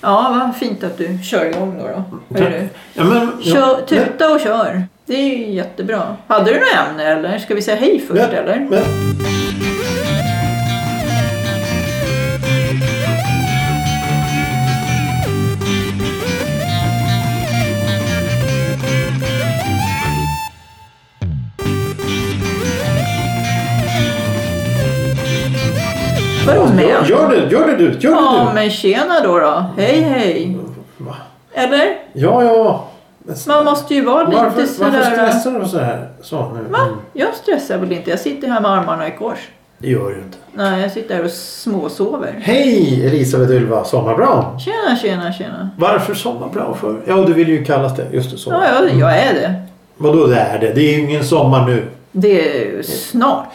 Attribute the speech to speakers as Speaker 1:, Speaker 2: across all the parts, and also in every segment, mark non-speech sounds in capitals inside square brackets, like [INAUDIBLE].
Speaker 1: Ja, vad fint att du kör igång då. då. Hör du?
Speaker 2: Ja, men, ja,
Speaker 1: Kör, tuta och kör. Det är ju jättebra. Hade du något ämne eller? Ska vi säga hej först
Speaker 2: men,
Speaker 1: eller?
Speaker 2: Men,
Speaker 1: Vadå
Speaker 2: gör,
Speaker 1: med?
Speaker 2: gör det, gör det du, gör
Speaker 1: Ja,
Speaker 2: det du.
Speaker 1: men tjena då då. Hej hej.
Speaker 2: Va?
Speaker 1: Eller?
Speaker 2: Ja, ja. Men,
Speaker 1: Man måste ju vara lite
Speaker 2: varför,
Speaker 1: sådär...
Speaker 2: varför stressar du så här? Så nu.
Speaker 1: Va?
Speaker 2: Mm.
Speaker 1: Jag stressar väl inte. Jag sitter här med armarna i kors.
Speaker 2: Det gör du inte.
Speaker 1: Nej, jag sitter här och småsover.
Speaker 2: Hej Elisabeth Ylva Sommarbrau.
Speaker 1: Tjena, tjena, tjena.
Speaker 2: Varför Sommarbrau för? Ja, du vill ju kallas det. Just det, sommar.
Speaker 1: Ja, jag, jag är det.
Speaker 2: Vadå det är det? Det är ju ingen sommar nu.
Speaker 1: Det är ju snart.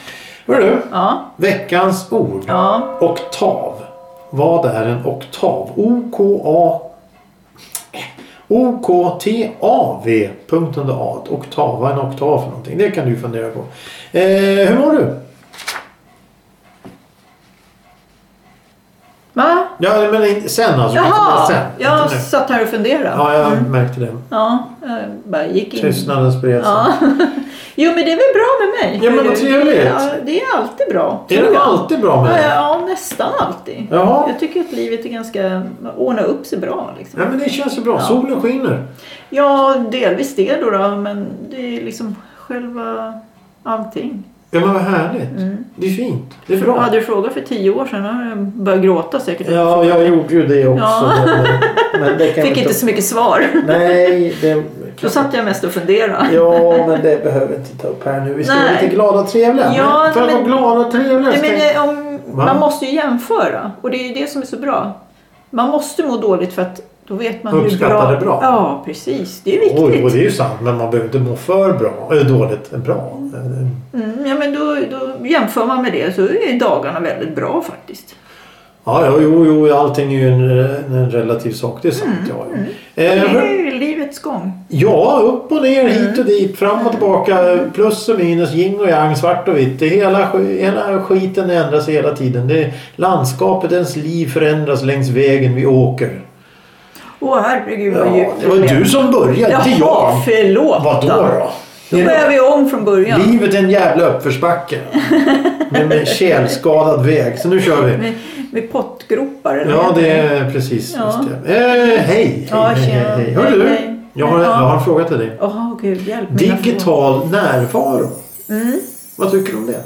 Speaker 2: Hör du?
Speaker 1: Ja,
Speaker 2: Veckans ord.
Speaker 1: ja.
Speaker 2: Oktav. Vad är en oktav? O-K-A... O-K-T-A-V. Punkten där A. Oktav. Vad är en oktav för någonting? Det kan du fundera på. Eh, hur mår du?
Speaker 1: Va?
Speaker 2: Ja, men in- sen alltså.
Speaker 1: Jaha! Mm.
Speaker 2: Sen.
Speaker 1: Jag
Speaker 2: Inte nu.
Speaker 1: satt här och funderade.
Speaker 2: Ja, jag märkte det.
Speaker 1: Ja, jag bara gick in.
Speaker 2: Tystnaden spred sig.
Speaker 1: Ja. Jo, men det är väl bra med mig?
Speaker 2: alltså. Ja, men vad trevligt.
Speaker 1: Ja, det är alltid bra.
Speaker 2: Är
Speaker 1: tror
Speaker 2: det
Speaker 1: jag.
Speaker 2: alltid bra med
Speaker 1: Ja,
Speaker 2: dig?
Speaker 1: ja, nästan alltid.
Speaker 2: Jaha.
Speaker 1: Jag tycker att livet är ganska... Ordna upp sig bra liksom.
Speaker 2: Ja, men det känns ju bra. Solen skiner.
Speaker 1: Ja, delvis det då, då men det är liksom själva allting.
Speaker 2: Ja, men vad härligt.
Speaker 1: Mm.
Speaker 2: Det är fint. Det är bra.
Speaker 1: Hade du frågat för tio år sedan hade jag börjat gråta säkert.
Speaker 2: Ja, jag gjorde ju det också.
Speaker 1: Ja.
Speaker 2: Men, men det kan
Speaker 1: Fick
Speaker 2: vi
Speaker 1: inte så mycket svar.
Speaker 2: Nej, det...
Speaker 1: Då satt jag mest och funderade.
Speaker 2: Ja, men det behöver vi inte ta upp här nu. Vi ska vara
Speaker 1: Nej.
Speaker 2: lite glada och trevliga.
Speaker 1: Ja,
Speaker 2: men för att
Speaker 1: men-
Speaker 2: vara glada och trevliga
Speaker 1: Nej,
Speaker 2: ska-
Speaker 1: men, eh, om,
Speaker 2: Va?
Speaker 1: man måste ju jämföra och det är ju det som är så bra. Man måste må dåligt för att då vet man hur
Speaker 2: Uppskatta
Speaker 1: bra...
Speaker 2: det bra.
Speaker 1: Ja, precis. Det är viktigt.
Speaker 2: Oj, och det är ju sant. Men man behöver inte må för bra. Eller dåligt. eh, Bra. Eller-
Speaker 1: Mm, ja, men då, då jämför man med det så är dagarna väldigt bra faktiskt.
Speaker 2: Ja, ja, jo, jo. Allting är ju en, eh, en relativ sak. Det är sant.
Speaker 1: Mm,
Speaker 2: Ja, ja. Eh,
Speaker 1: Det är
Speaker 2: hör-
Speaker 1: ju livets gång.
Speaker 2: ja, upp och ner, hit
Speaker 1: Mm.
Speaker 2: och dit, fram och tillbaka. Plus och minus, yin och yang, svart och vitt. Det hela, sk- hela skiten ändras hela tiden. Det, landskapet, ens liv förändras längs vägen vi åker.
Speaker 1: Åh herregud vad
Speaker 2: Ja,
Speaker 1: djupt
Speaker 2: det var
Speaker 1: blev.
Speaker 2: du som började, inte jag.
Speaker 1: Jaha, förlåt.
Speaker 2: Vadå då?
Speaker 1: Då börjar vi om från början.
Speaker 2: Livet är en jävla uppförsbacke. Med, med tjälskadad väg. Så nu kör vi.
Speaker 1: Med, med pottgropar eller
Speaker 2: Ja,
Speaker 1: vad
Speaker 2: det
Speaker 1: heter
Speaker 2: är precis.
Speaker 1: Ja.
Speaker 2: Just det. Eh, hej!
Speaker 1: Ja,
Speaker 2: hej, hej,
Speaker 1: tjena.
Speaker 2: hej. Hör
Speaker 1: Hej,
Speaker 2: du,
Speaker 1: hej.
Speaker 2: jag har,
Speaker 1: Ja.
Speaker 2: jag har en fråga till dig.
Speaker 1: Åh gud, hjälp mig.
Speaker 2: Digital närvaro.
Speaker 1: Mm.
Speaker 2: Vad tycker du om det?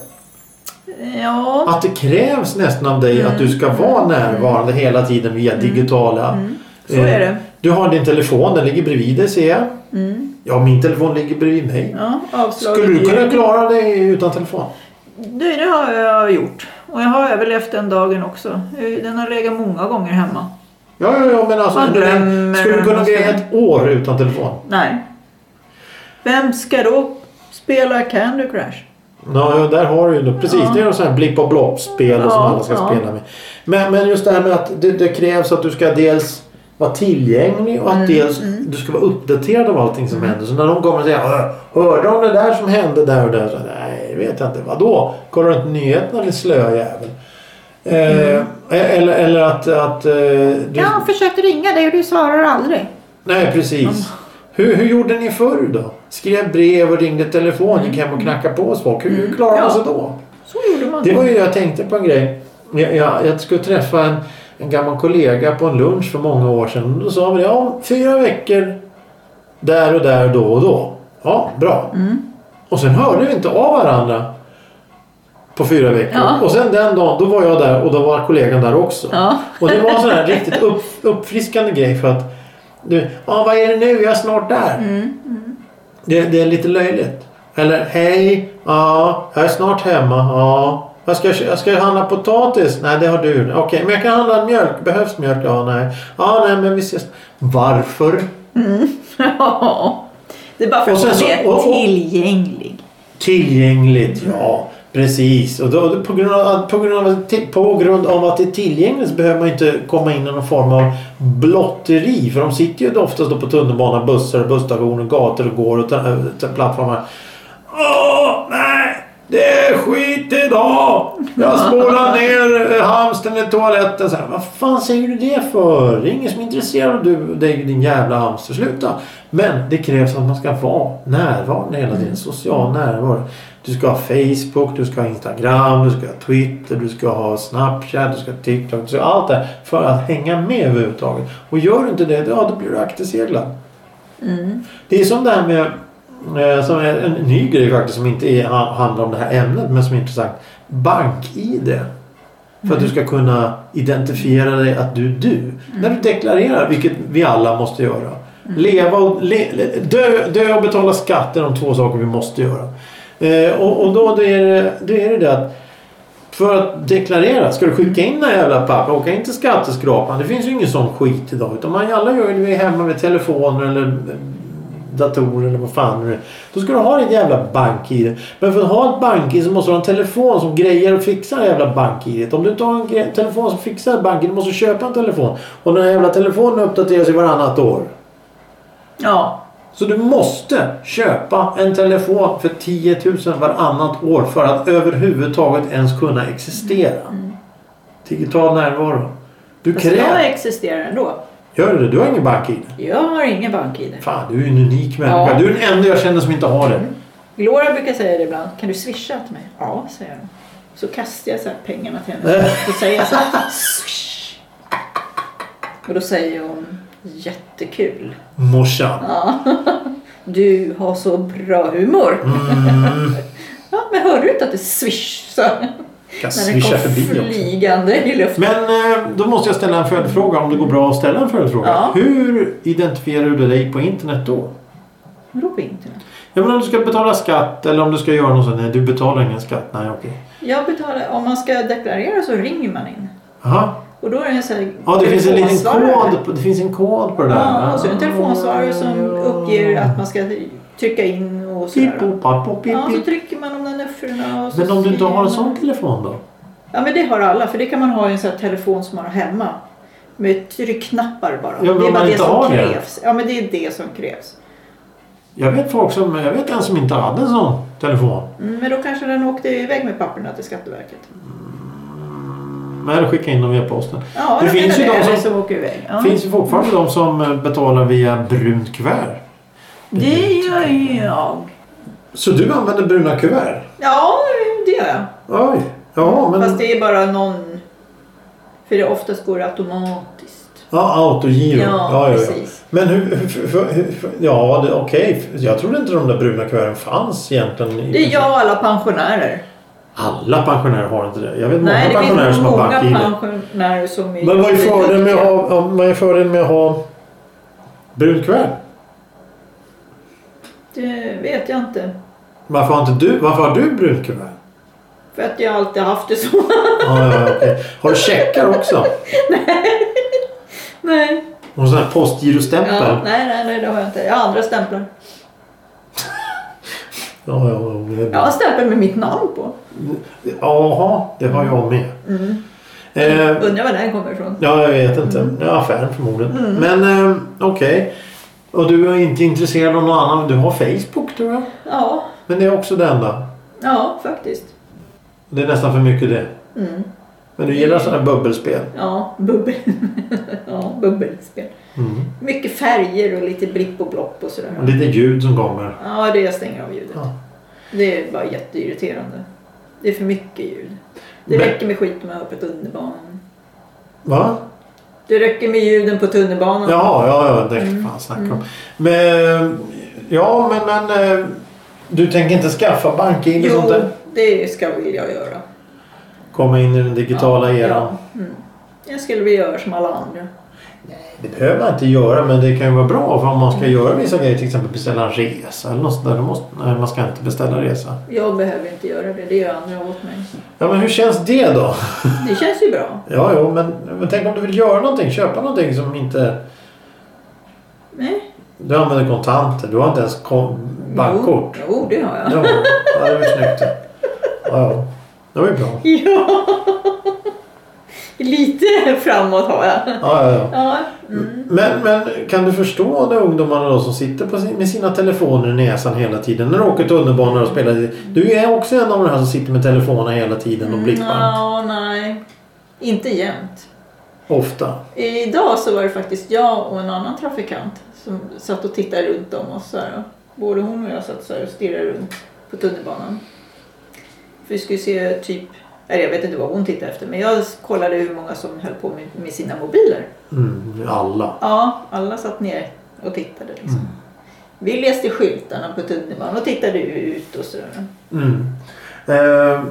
Speaker 1: Ja,
Speaker 2: Att det krävs nästan av dig att du
Speaker 1: Mm.
Speaker 2: ska vara närvarande hela tiden via digitala... Eh,
Speaker 1: så är det.
Speaker 2: Du har din telefon, den ligger bredvid dig ser jag.
Speaker 1: Mm.
Speaker 2: Ja, min telefon ligger bredvid mig.
Speaker 1: Ja, avslaget.
Speaker 2: Skulle du kunna
Speaker 1: ljud.
Speaker 2: klara dig utan telefon?
Speaker 1: Det, det har jag gjort. Och jag har överlevt den dagen också. Eh, Den har legat många gånger hemma.
Speaker 2: Ja, ja, ja men alltså.
Speaker 1: Man glömmer
Speaker 2: skulle du kunna
Speaker 1: den
Speaker 2: bli
Speaker 1: och
Speaker 2: ett år utan telefon?
Speaker 1: Nej. Vem ska då spela Candy Crush?
Speaker 2: Ja, ja, där har du ju det. Precis,
Speaker 1: Ja.
Speaker 2: det är något sånt här blipp och blopp-spel och som
Speaker 1: Ja,
Speaker 2: alla ska
Speaker 1: ja.
Speaker 2: spela med. Men, men just det här med att det, det krävs att du ska dels vara tillgänglig och att
Speaker 1: Mm,
Speaker 2: dels du ska vara uppdaterad av allting som händer. Så när någon kommer och säger "Hör- Hörde om det där som hände där och där? Så, Nej, det vet jag inte. Vadå? Kollar du inte nyheterna din slöjävel?
Speaker 1: Mm.
Speaker 2: Eh, eller, eller att... att eh, du...
Speaker 1: Jag försökte ringa dig och du svarar aldrig.
Speaker 2: Nej, precis. Hur, hur gjorde ni förr då? Skrev brev och ringde telefon, gick hem och knackade på hos folk. Hur, hur klarade man sig då?
Speaker 1: Så gjorde man.
Speaker 2: Det var ju, jag tänkte på en grej. Jag, jag, jag skulle träffa en, en gammal kollega på en lunch för många år sedan. Då sa vi det, om fyra veckor där och där, då och då. Ja, bra. Och sen hörde vi inte av varandra på fyra veckor.
Speaker 1: Ja.
Speaker 2: Och sen den dagen, då var jag där och då var kollegan där också.
Speaker 1: Ja.
Speaker 2: Och det var en sån här riktigt upp, uppfriskande grej för att du, ja vad är det nu, jag är snart där. Det, det är lite löjligt. Eller hej, ja, jag är snart hemma, ja. Jag ska, jag ska handla potatis. Nej, det har du. Okej, men jag kan handla mjölk. Behövs mjölk? Ja, nej. Ja, nej, men vi ses. Varför?
Speaker 1: [LAUGHS] Ja. Det är bara för
Speaker 2: Och
Speaker 1: att
Speaker 2: sen
Speaker 1: man
Speaker 2: så-
Speaker 1: är
Speaker 2: och- och-
Speaker 1: tillgänglig.
Speaker 2: Tillgängligt, ja. Precis. Och då, på, grund av, på, grund av, till- på grund av att det är tillgängligt så behöver man inte komma in i någon form av blotteri. För de sitter ju oftast då på tunnelbana, bussar, busstationer, gator och går och ta- ta- plattformar. Åh, nej! Det är skit idag! Jag spolade ner eh, hamstern i toaletten. Så här, Vad fan säger du det för? Det är ingen som är intresserad av du, dig och din jävla hamster. Sluta! Men det krävs att man ska vara närvarande hela tiden. Social närvaro. Du ska ha Facebook, du ska ha Instagram, du ska ha Twitter, du ska ha Snapchat, du ska ha TikTok. Du ska ha allt det här för att hänga med överhuvudtaget. Och gör du inte det, ja då blir du akterseglad.
Speaker 1: Mm.
Speaker 2: Det är som det här med eh, som är en ny grej faktiskt som inte är, ha- handlar om det här ämnet men som är intressant. Bank-ID. För att du ska kunna identifiera dig att du är du. När du deklarerar, vilket vi alla måste göra. Leva och, le, le- dö, dö och betala skatt är de två saker vi måste göra. Eh, och, och då det är, det- då är det det att för att deklarera, ska du skicka in den här jävla papper? Åka in till skatteskrapan. Det finns ju ingen sån skit idag. Utan man alla gör ju det hemma med telefoner eller eh, datorer eller vad fan nu är. Då ska du ha ditt jävla bank-id. Men för att ha ett bank-id så måste du ha en telefon som grejer och fixar det jävla bank-id. Om du inte har en gre- telefon som fixar bank-id, du måste köpa en telefon. Och den här jävla telefonen uppdateras ju varannat år.
Speaker 1: Ja.
Speaker 2: Så du måste köpa en telefon för 10 000 varannat år för att överhuvudtaget ens kunna existera. Digital närvaro. Du
Speaker 1: Mm. Fast jag
Speaker 2: kräver...
Speaker 1: Alltså, existerar ändå.
Speaker 2: Gör du det? Du har ingen bank-id.
Speaker 1: Jag har ingen bank-id.
Speaker 2: Fan, du är ju en unik människa.
Speaker 1: Ja. Mm.
Speaker 2: Du är den enda jag känner som inte har det.
Speaker 1: Gloria brukar säga det ibland. Kan du swisha till mig? Ja, säger hon. Så kastar jag så här pengarna till
Speaker 2: [LAUGHS]
Speaker 1: henne. Så säger jag så här, swish. Och då säger hon jättekul.
Speaker 2: Morsan.
Speaker 1: Ja. Du har så bra humor.
Speaker 2: Mm.
Speaker 1: [LAUGHS] Ja, men hörde du inte att det swish? Så.
Speaker 2: Kan
Speaker 1: När den
Speaker 2: swisha
Speaker 1: kom
Speaker 2: förbi också.
Speaker 1: flygande i luften.
Speaker 2: Men eh, då måste jag ställa en följdfråga om det går bra att ställa en följdfråga.
Speaker 1: Ja.
Speaker 2: Hur identifierar du dig på internet då?
Speaker 1: Vadå på internet?
Speaker 2: Jag menar om du ska betala skatt eller om du ska göra något sånt. Nej, du betalar ingen skatt. Nej, okej.
Speaker 1: Jag betalar, om man ska deklarera så ringer man in.
Speaker 2: Aha.
Speaker 1: Och då är det en sån här
Speaker 2: Ja, det finns en liten
Speaker 1: telefonsvarare.
Speaker 2: kod på, det finns en kod på det där.
Speaker 1: Ja, och så är det en telefonsvarare som uppger att man ska trycka in och sådär.
Speaker 2: Pip, pop, pop, pop, pip,
Speaker 1: Ja, så
Speaker 2: pip.
Speaker 1: trycker man om den nuffrorna och så
Speaker 2: Men om du inte
Speaker 1: skriver
Speaker 2: har en
Speaker 1: man-
Speaker 2: sån telefon då?
Speaker 1: Ja, men det har alla. För det kan man ha i en sån här telefon som man har hemma. Med tryckknappar bara.
Speaker 2: Ja, men
Speaker 1: det är
Speaker 2: om
Speaker 1: bara
Speaker 2: man
Speaker 1: det
Speaker 2: inte
Speaker 1: som
Speaker 2: har det?
Speaker 1: krävs. Ja, men det är det som krävs.
Speaker 2: Jag vet folk som, jag vet en som inte hade en sån telefon.
Speaker 1: Mm, Men då kanske den åkte iväg med papperna till Skatteverket.
Speaker 2: Men jag skickade in dem via posten.
Speaker 1: Ja,
Speaker 2: Det
Speaker 1: jag
Speaker 2: finns
Speaker 1: menar
Speaker 2: ju de
Speaker 1: Eller
Speaker 2: som-
Speaker 1: så åker iväg. Ja.
Speaker 2: Det finns ju fortfarande de som eh, betalar via brunt kuvert.
Speaker 1: Det gör ju jag.
Speaker 2: Så du använder bruna kuvert?
Speaker 1: Ja, det gör jag.
Speaker 2: Oj. Ja, men...
Speaker 1: Fast det är bara någon... För det oftast går det automatiskt.
Speaker 2: Ja, autogiro.
Speaker 1: Ja, precis.
Speaker 2: Men hur... hur, hur, hur ja, det- okej. Jag trodde inte de där bruna kuverten fanns egentligen. i
Speaker 1: Det är
Speaker 2: princip.
Speaker 1: jag och alla pensionärer.
Speaker 2: Alla pensionärer har inte det. Jag vet
Speaker 1: Nej,
Speaker 2: många
Speaker 1: det
Speaker 2: pensionärer
Speaker 1: finns
Speaker 2: som har
Speaker 1: många
Speaker 2: bank-id.
Speaker 1: pensionärer som är...
Speaker 2: Men vad är fördelen med att
Speaker 1: jätteduktiga.
Speaker 2: ha, ja, vad är fördelen med att ha brunt kuvert?
Speaker 1: Det vet jag inte.
Speaker 2: Varför har, inte du, varför har du brunt kuvert?
Speaker 1: För att jag alltid haft det så. [LAUGHS]
Speaker 2: Ja, ja, ja, okej. Har du checkar också?
Speaker 1: nej.
Speaker 2: Och sån här postgirostämpel?
Speaker 1: Ja,
Speaker 2: Ja, ja,
Speaker 1: nej, nej, nej, det har jag inte. Jag har andra stämplar.
Speaker 2: ja, ja, det är
Speaker 1: Jag har
Speaker 2: bra.
Speaker 1: en stämpel med mitt namn på.
Speaker 2: Jaha, det har jag med.
Speaker 1: Mm.
Speaker 2: Eh,
Speaker 1: Undrar var den kommer ifrån.
Speaker 2: ja, jag vet inte.
Speaker 1: Mm.
Speaker 2: Ja, affären förmodligen. Men eh, okej. Och du är inte intresserad av någon annan. Du har Facebook tror jag.
Speaker 1: Ja,
Speaker 2: Men det är också det enda.
Speaker 1: ja faktiskt.
Speaker 2: Det är nästan för mycket det.
Speaker 1: Mm.
Speaker 2: Men du gillar sådana här bubbelspel?
Speaker 1: Ja, bubbel. [LAUGHS] ja, bubbelspel.
Speaker 2: Mm.
Speaker 1: Mycket färger och lite blipp och blopp och sådär.
Speaker 2: Lite ljud som kommer.
Speaker 1: Ja, det jag stänger av ljudet.
Speaker 2: Ja.
Speaker 1: Det är bara jätteirriterande. Det är för mycket ljud. Det
Speaker 2: Men-
Speaker 1: räcker med skit om jag har på tunnelbanan.
Speaker 2: Va?
Speaker 1: Det räcker med ljuden på tunnelbanan.
Speaker 2: Jaha, ja, ja, det
Speaker 1: Mm.
Speaker 2: kan fan snacka om. Men, ja, men, men eh, du tänker inte skaffa bank-id och sånt
Speaker 1: jo,
Speaker 2: där?
Speaker 1: det ska väl jag göra.
Speaker 2: Komma in i den digitala eran?
Speaker 1: Ja, mm. Jag skulle vilja göra som alla andra.
Speaker 2: Det behöver man inte göra, men det kan ju vara bra för om man ska
Speaker 1: Mm.
Speaker 2: göra vissa grejer, till exempel beställa en resa eller något sånt där. Då måste, nej, man ska inte beställa resa.
Speaker 1: Jag behöver inte göra det, det gör andra åt mig.
Speaker 2: Ja, men hur känns det då?
Speaker 1: Det känns ju bra.
Speaker 2: Ja, jo, men, men tänk om du vill göra någonting, köpa någonting som inte...
Speaker 1: Nej.
Speaker 2: Du använder kontanter, du har inte ens kon- bankkort.
Speaker 1: Jo, jo det har jag.
Speaker 2: Ja, ja, det var ju snyggt. Ja, ja. det var ju bra.
Speaker 1: Ja. [LAUGHS] Lite framåt har jag.
Speaker 2: Ja, ja, ja.
Speaker 1: Ja, mm.
Speaker 2: Men, men kan du förstå de ungdomarna då som sitter på sin, med sina telefoner i näsan hela tiden? När du åker tunnelbana och spelar. Du är också en av de här som sitter med telefonen hela tiden och blippar.
Speaker 1: Mm, Ja, nej. Inte jämt.
Speaker 2: Ofta.
Speaker 1: Idag så var det faktiskt jag och en annan trafikant som satt och tittade runt om oss. Så här. Både hon och jag satt så här och stirrade runt på tunnelbanan. För vi skulle se typ, eller jag vet inte vad hon tittade efter men jag kollade hur många som höll på med, med sina mobiler.
Speaker 2: Mm, alla.
Speaker 1: Ja, alla satt ner och tittade liksom.
Speaker 2: Mm.
Speaker 1: Vi läste skyltarna på tunnelbanan och tittade ut och sådär.
Speaker 2: Mm. Eh,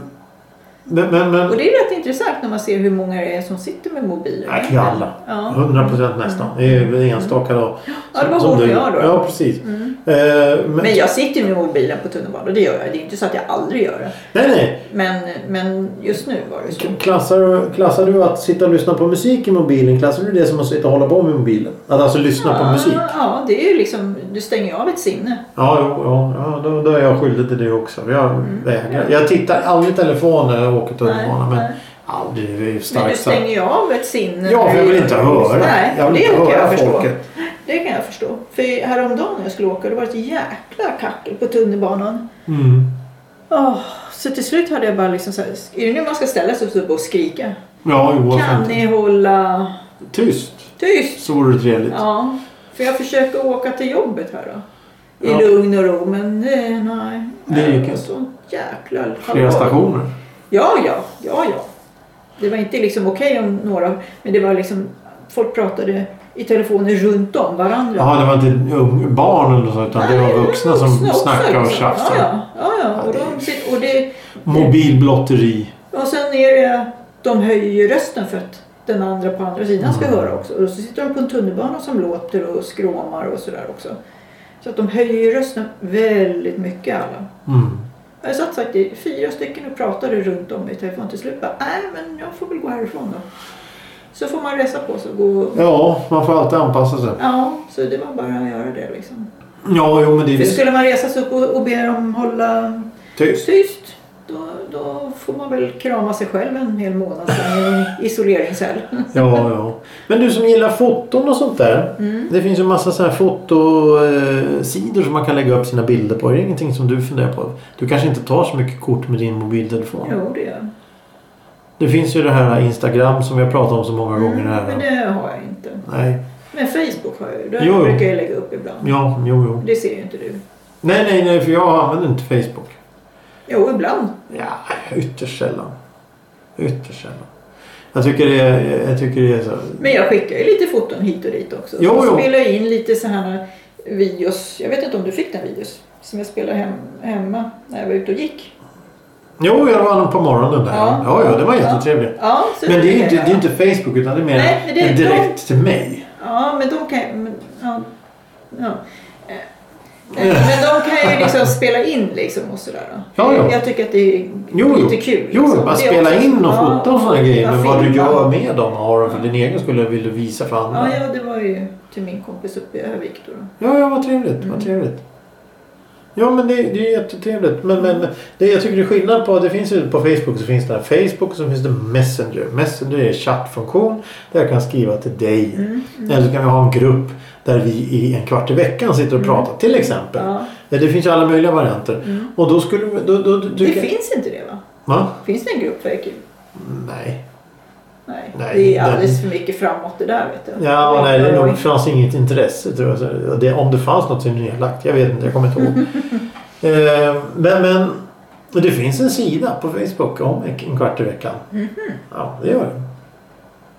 Speaker 2: men, men,
Speaker 1: Och
Speaker 2: men
Speaker 1: det är rätt intressant när man ser hur många det är som sitter med mobiler.
Speaker 2: Nej, det är alla.
Speaker 1: Ja.
Speaker 2: 100 procent nästan. Det är väl enstaka då.
Speaker 1: Ja, det var hon och jag då. Mm.
Speaker 2: Ja, precis. Eh, men,
Speaker 1: Men jag sitter ju med mobilen på tunnelbanan, det gör jag. Det är inte så att jag aldrig gör det.
Speaker 2: nej, nej.
Speaker 1: Men, men just nu var det så.
Speaker 2: Klassar, klassar du att sitta och lyssna på musik i mobilen? Klassar du det som att sitta och hålla på med mobilen? Att alltså lyssna på musik?
Speaker 1: Ja, ja, det är ju liksom, du stänger ju av ett sinne.
Speaker 2: Ja, jo, ja, ja då, då är jag skyldig till det också. Jag vägrar. Jag tittar aldrig i telefon när jag åker tunnelbana.
Speaker 1: Mm. Nej,
Speaker 2: Men
Speaker 1: nej.
Speaker 2: ja, det är ju
Speaker 1: Men du
Speaker 2: starkt sagt.
Speaker 1: stänger ju av ett sinne.
Speaker 2: Ja,
Speaker 1: när
Speaker 2: för jag
Speaker 1: du-
Speaker 2: vill inte höra.
Speaker 1: Nej,
Speaker 2: Jag vill
Speaker 1: det
Speaker 2: inte
Speaker 1: kan
Speaker 2: höra
Speaker 1: jag förstå.
Speaker 2: folket.
Speaker 1: Det kan jag förstå. För häromdagen när jag skulle åka, det var ett jäkla kackel på tunnelbanan.
Speaker 2: Mm.
Speaker 1: Åh, så till slut hade jag bara liksom så här, är det nu man ska ställa sig upp och skrika?
Speaker 2: Ja, jo, vad
Speaker 1: Kan
Speaker 2: fan.
Speaker 1: ni hålla
Speaker 2: Tyst.
Speaker 1: tyst?
Speaker 2: Så vore det trevligt.
Speaker 1: Ja, för jag försöker åka till jobbet här då. I
Speaker 2: Ja.
Speaker 1: lugn och ro, men nej, nej.
Speaker 2: Det gick inte.
Speaker 1: Så jäkla
Speaker 2: Flera
Speaker 1: hallå.
Speaker 2: stationer.
Speaker 1: Ja, ja, ja, ja. Det var inte liksom okej om några, men det var liksom folk pratade i telefoner runt om varandra.
Speaker 2: Ja, det var inte ung- barn eller så, utan det
Speaker 1: Nej,
Speaker 2: var vuxna som
Speaker 1: vuxna också,
Speaker 2: snackade och
Speaker 1: liksom.
Speaker 2: tjafsade.
Speaker 1: Ja, ja, ja, ja.
Speaker 2: Ja,
Speaker 1: Och,
Speaker 2: det är
Speaker 1: de, sitter- och, det,
Speaker 2: Mobilblotteri.
Speaker 1: och sen är det, de höjer ju rösten för att den andra på andra sidan ska
Speaker 2: Mm.
Speaker 1: höra också. Och så sitter de på en tunnelbana som låter och skråmar och sådär också. Så att de höjer ju rösten väldigt mycket alla.
Speaker 2: Mm.
Speaker 1: Jag satt faktiskt fyra stycken och pratade runt om i telefon. Till slut bara, nej men jag får väl gå härifrån då. Så får man resa på sig och gå.
Speaker 2: Ja, man får alltid anpassa sig.
Speaker 1: Ja, så det var bara att göra det liksom.
Speaker 2: Ja, jo, men det är
Speaker 1: För
Speaker 2: visst.
Speaker 1: skulle man resa sig upp och, och be dem hålla
Speaker 2: Tyst.
Speaker 1: tyst, då, då får man väl krama sig själv en hel månad sen i en isoleringscell.
Speaker 2: [LAUGHS] Ja, ja. Men du som gillar foton och sånt där.
Speaker 1: Mm.
Speaker 2: Det finns ju en massa så här fotosidor som man kan lägga upp sina bilder på. Är det ingenting som du funderar på? Du kanske inte tar så mycket kort med din mobiltelefon?
Speaker 1: Jo, det gör jag.
Speaker 2: Det finns ju det här Instagram som vi har pratat om så många gånger
Speaker 1: Mm, Men
Speaker 2: här.
Speaker 1: det har jag inte.
Speaker 2: Nej,
Speaker 1: Men Facebook har jag ju. Det
Speaker 2: Jo, jo.
Speaker 1: brukar jag lägga upp ibland.
Speaker 2: ja, jo, jo.
Speaker 1: Det ser ju inte du.
Speaker 2: Nej, nej, nej, för jag använder inte Facebook.
Speaker 1: Jo, ibland.
Speaker 2: Ja, ytterst sällan. Ytterst sällan. Jag tycker det är, jag tycker det är så...
Speaker 1: Men jag skickar ju lite foton hit och dit också.
Speaker 2: Jo,
Speaker 1: så
Speaker 2: jo.
Speaker 1: spelar jag in lite så här videos. Jag vet inte om du fick den videos. Som jag spelade hem, hemma när jag var ute och gick.
Speaker 2: Jo, jag var på morgonen där.
Speaker 1: Ja.
Speaker 2: Ja, ja, det var jättetrevligt.
Speaker 1: Ja, så
Speaker 2: Men det är ju inte,
Speaker 1: jag.
Speaker 2: det är inte Facebook utan det är mer
Speaker 1: Nej, men det är
Speaker 2: en direkt till mig.
Speaker 1: Ja, men de kan ju... men- Ja, ja. Eh, Men de kan ju liksom spela in liksom och sådär. då.
Speaker 2: Ja, ja.
Speaker 1: Jag tycker att det är
Speaker 2: Jo, jo.
Speaker 1: lite kul.
Speaker 2: Jo,
Speaker 1: liksom.
Speaker 2: bara
Speaker 1: Det är
Speaker 2: spela
Speaker 1: också-
Speaker 2: in och
Speaker 1: ja,
Speaker 2: fota och sådana grejer.
Speaker 1: ja,
Speaker 2: Men vad du
Speaker 1: filma.
Speaker 2: gör med dem har du för din egen skulle vill du visa för andra.
Speaker 1: Ja, ja, det var ju till min kompis uppe i Övik då. då.
Speaker 2: Ja, ja, vad trevligt.
Speaker 1: Mm.
Speaker 2: Vad trevligt. Ja, men det, det är jättetrevligt. Men, men det, jag tycker det är skillnad på... Det finns ju på Facebook så finns det här Facebook och så finns det Messenger. Messenger är chattfunktion där jag kan skriva till dig.
Speaker 1: Mm,
Speaker 2: Eller så kan vi ha en grupp där vi i en kvart i veckan sitter och pratar till exempel.
Speaker 1: Mm. Ja.
Speaker 2: Det finns ju alla möjliga varianter. Och då skulle vi... Då, då,
Speaker 1: Mm. Det
Speaker 2: du, kan-
Speaker 1: finns inte det va?
Speaker 2: Va?
Speaker 1: Finns det en grupp för arkiv?
Speaker 2: Nej.
Speaker 1: Nej,
Speaker 2: Nej,
Speaker 1: det är
Speaker 2: den-
Speaker 1: alldeles för mycket framåt det där vet du.
Speaker 2: Ja,
Speaker 1: Det
Speaker 2: nej, det
Speaker 1: var
Speaker 2: nog,
Speaker 1: inte-
Speaker 2: fanns inget intresse tror jag. Så Det, om det fanns något så är det nedlagt. Jag vet inte, jag kommer inte ihåg.
Speaker 1: [LAUGHS]
Speaker 2: eh, men, men det finns en sida på Facebook om en, en kvart i veckan.
Speaker 1: Mhm.
Speaker 2: Ja, det gör det.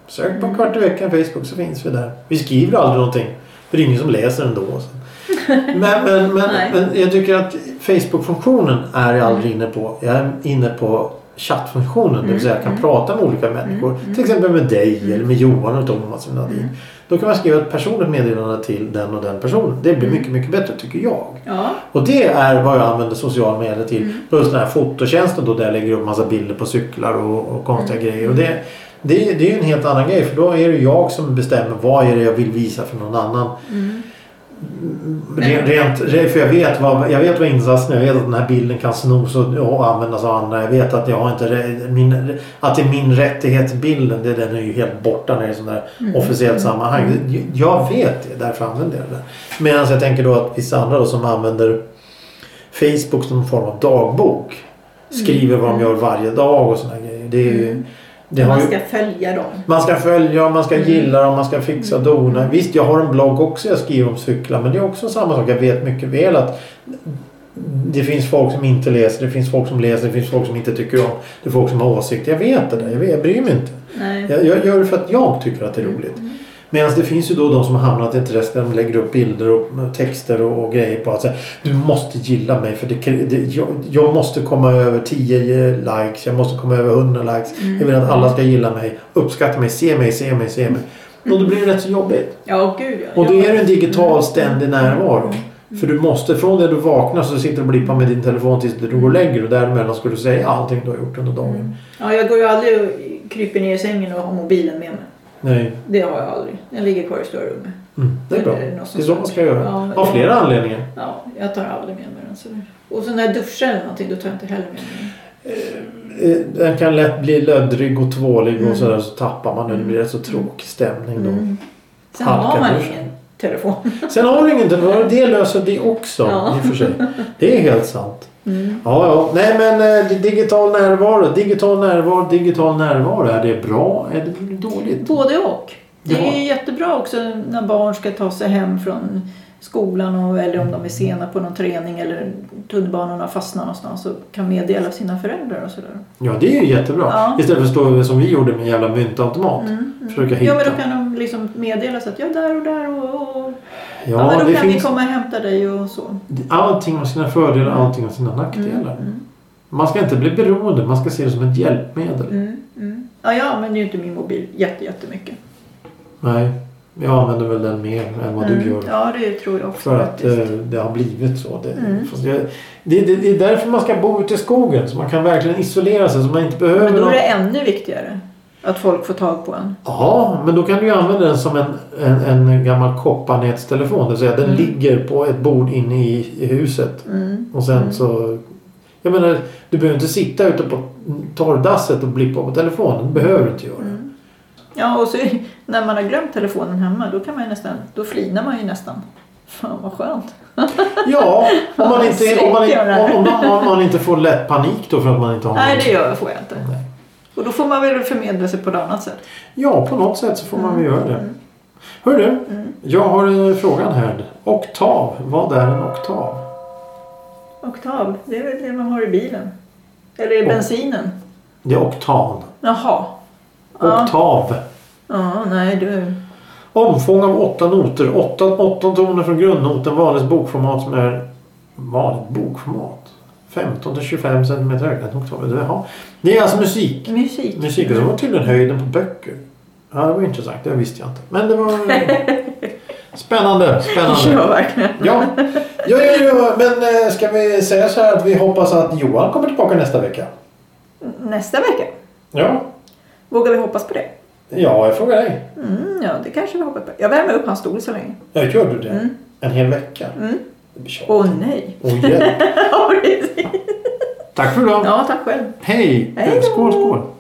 Speaker 2: Sök på en kvart i veckan Facebook så finns vi där. Vi skriver aldrig någonting. För det är ingen som läser ändå.
Speaker 1: [LAUGHS]
Speaker 2: Så. Men, men, men,
Speaker 1: Nej.
Speaker 2: men jag tycker att Facebook-funktionen är jag aldrig inne på. Jag är inne på chattfunktionen. Det vill säga jag kan prata med olika människor. Till exempel med dig eller med Johan och Thomas och Nadine. Då kan man skriva ett personligt meddelande till den och den personen. Det blir mycket, mycket bättre tycker jag.
Speaker 1: Ja,
Speaker 2: Och det är vad jag använder sociala medier till. Plus den här fototjänsten då där jag lägger upp massa bilder på cyklar och, och konstiga grejer. Och det, det,
Speaker 1: Mm.
Speaker 2: det är ju en helt annan grej för då är det jag som bestämmer vad är det jag vill visa för någon annan. Re- Rent, re- för jag vet vad, jag vet vad insatsen är. Jag vet att den här bilden kan snos och, och användas av andra. Jag vet att jag har inte re- min, att det är min rättighet till bilden. Det, den är ju helt borta när det är sån där
Speaker 1: Mm.
Speaker 2: officiellt sammanhang. Det- Jag vet det. Därför använder jag den. Medan jag tänker då att vissa andra då som använder Facebook som en form av dagbok. Skriver vad de gör varje dag och såna grejer. Det är ju, det har
Speaker 1: Man
Speaker 2: ju,
Speaker 1: ska följa dem.
Speaker 2: man ska följa, man ska gilla dem, man ska fixa och dona. Visst, jag har en blogg också jag skriver om cyklar. Men det är också samma sak. Jag vet mycket väl att det finns folk som inte läser, det finns folk som läser, det finns folk som inte tycker om. Det är folk som har åsikter. Jag vet det där. Jag, vet, jag bryr mig inte.
Speaker 1: Nej.
Speaker 2: Jag, jag gör det för att jag tycker att det är
Speaker 1: Mm.
Speaker 2: roligt. Medan det finns ju då de som har hamnat i ett träsk där de lägger upp bilder och texter och, och grejer på att säga Du måste gilla mig för det, krä- det, jag, jag måste komma över 10 likes, jag måste komma över 100 likes.
Speaker 1: Mm.
Speaker 2: Jag vill att alla ska gilla mig, uppskatta mig, se mig, se mig, se mig.
Speaker 1: Mm.
Speaker 2: Och då blir det rätt så jobbigt.
Speaker 1: Ja, gud ja.
Speaker 2: Och då
Speaker 1: Ja.
Speaker 2: är det en digital ständig närvaro.
Speaker 1: Mm.
Speaker 2: För du måste, från det du vaknar så sitter du och blippar med din telefon tills du går och lägger dig. och däremellan ska du säga allting du har gjort under dagen.
Speaker 1: Mm. ja, jag går ju aldrig och kryper ner i sängen och har mobilen med mig.
Speaker 2: Nej.
Speaker 1: Det har jag aldrig. Den ligger kvar i störrummet.
Speaker 2: Mm, det är bra.
Speaker 1: Eller är det något
Speaker 2: Det
Speaker 1: som
Speaker 2: är så man ska
Speaker 1: Ja,
Speaker 2: göra. Av
Speaker 1: det-
Speaker 2: flera anledningar.
Speaker 1: Ja, jag tar aldrig med mig den sådär. Och så när jag duschar eller någonting då tar jag inte heller med mig den.
Speaker 2: Eh, Den kan lätt bli löddrig och tvålig och sådär så tappar man den. Det blir rätt så tråkig stämning då.
Speaker 1: Mm. Sen
Speaker 2: Halkar
Speaker 1: har man
Speaker 2: duschen.
Speaker 1: ingen telefon.
Speaker 2: Sen har du ingen telefon. Det löser det också
Speaker 1: Ja.
Speaker 2: i och för sig. Det är helt sant.
Speaker 1: Mm.
Speaker 2: Ja, ja. Nej men eh, det- digital närvaro. Digital närvaro, digital närvaro. Är det bra? Är det dåligt?
Speaker 1: Både och. Det
Speaker 2: Ja.
Speaker 1: är jättebra också när barn ska ta sig hem från skolan och, eller om de är sena på någon träning eller tunnelbanorna fastnar någonstans och kan meddela sina föräldrar och sådär.
Speaker 2: Ja, det är ju jättebra.
Speaker 1: Ja.
Speaker 2: Istället för att stå som vi gjorde med en jävla myntautomat. Försöka hitta.
Speaker 1: Mm, Ja men då kan de liksom meddela så att jag är där och där och, och ja,
Speaker 2: ja,
Speaker 1: men då
Speaker 2: det
Speaker 1: kan
Speaker 2: finns...
Speaker 1: vi komma Mm. och hämta dig och så.
Speaker 2: Allting har sina fördelar, allting har sina nackdelar.
Speaker 1: Mm,
Speaker 2: Man ska inte bli beroende, man ska se det som ett hjälpmedel.
Speaker 1: Mm, mm. Ja, jag använder ju inte min mobil jätte, jättemycket.
Speaker 2: Nej, jag använder väl den mer än vad du gör.
Speaker 1: Mm. Ja, det tror jag också
Speaker 2: För att
Speaker 1: faktiskt. Mm.
Speaker 2: eh, det har blivit så. Det, fast jag, det, det, det är därför man ska bo ute i skogen. Så man kan verkligen isolera sig så man inte behöver
Speaker 1: Men då är
Speaker 2: någon...
Speaker 1: det ännu viktigare att folk får tag på en.
Speaker 2: Ja, men då kan du ju använda den som en, en, en gammal kopparnätstelefon. Det vill säga den ligger på ett bord inne i, i huset.
Speaker 1: Mm.
Speaker 2: Och sen så... Jag menar, du behöver inte sitta ute på torrdasset och blippa på telefonen. Det behöver du inte göra.
Speaker 1: Mm. Ja, och så [LAUGHS] när man har glömt telefonen hemma då kan man ju nästan, då flinar man ju nästan. Fan vad skönt.
Speaker 2: Ja,
Speaker 1: [LAUGHS]
Speaker 2: om man inte, om man,
Speaker 1: Släcker jag det här?
Speaker 2: om, om, om man inte får lätt panik då för att man inte har
Speaker 1: Nej,
Speaker 2: någon-
Speaker 1: det gör, får jag inte. Och då får man väl förmedla sig på ett annat sätt.
Speaker 2: Ja, på något sätt så får man väl
Speaker 1: Mm.
Speaker 2: göra det. Hör du, jag har eh, frågan här. Oktav, vad är en oktav?
Speaker 1: Oktav, det är väl det man har i bilen. Eller i
Speaker 2: Och-
Speaker 1: bensinen.
Speaker 2: Det är oktan.
Speaker 1: Jaha. Ja.
Speaker 2: Oktav.
Speaker 1: Ja, nej du.
Speaker 2: Omfång av åtta noter. Åtta, åtta toner från grundnoten. Vanligt bokformat som är... Vanligt bokformat? 15 till 25 cm högt. En oktav. Jaha. Det är alltså musik.
Speaker 1: Musik.
Speaker 2: Musik, och det var tydligen höjden på böcker. Ja, det var intressant. Det visste jag inte. Men det var... Spännande, spännande.
Speaker 1: [LAUGHS] Ja, verkligen.
Speaker 2: Ja, ja, ja, ja. men eh, ska vi säga så här att vi hoppas att Johan kommer tillbaka nästa vecka?
Speaker 1: Nästa vecka.
Speaker 2: Ja,
Speaker 1: Vågar vi hoppas på det?
Speaker 2: ja jag frågar dig.
Speaker 1: Mm, ja, det kanske vi hoppas på. Jag värmer upp hans stol så länge.
Speaker 2: Ja, gör du det? En hel vecka?
Speaker 1: Mm.
Speaker 2: Det blir tjatigt.
Speaker 1: Åh nej! [LAUGHS]
Speaker 2: Åh, hjälp.
Speaker 1: Ja, precis.
Speaker 2: Tack för idag.
Speaker 1: ja, tack själv.
Speaker 2: Hej!
Speaker 1: Hej då.
Speaker 2: Skål, skål!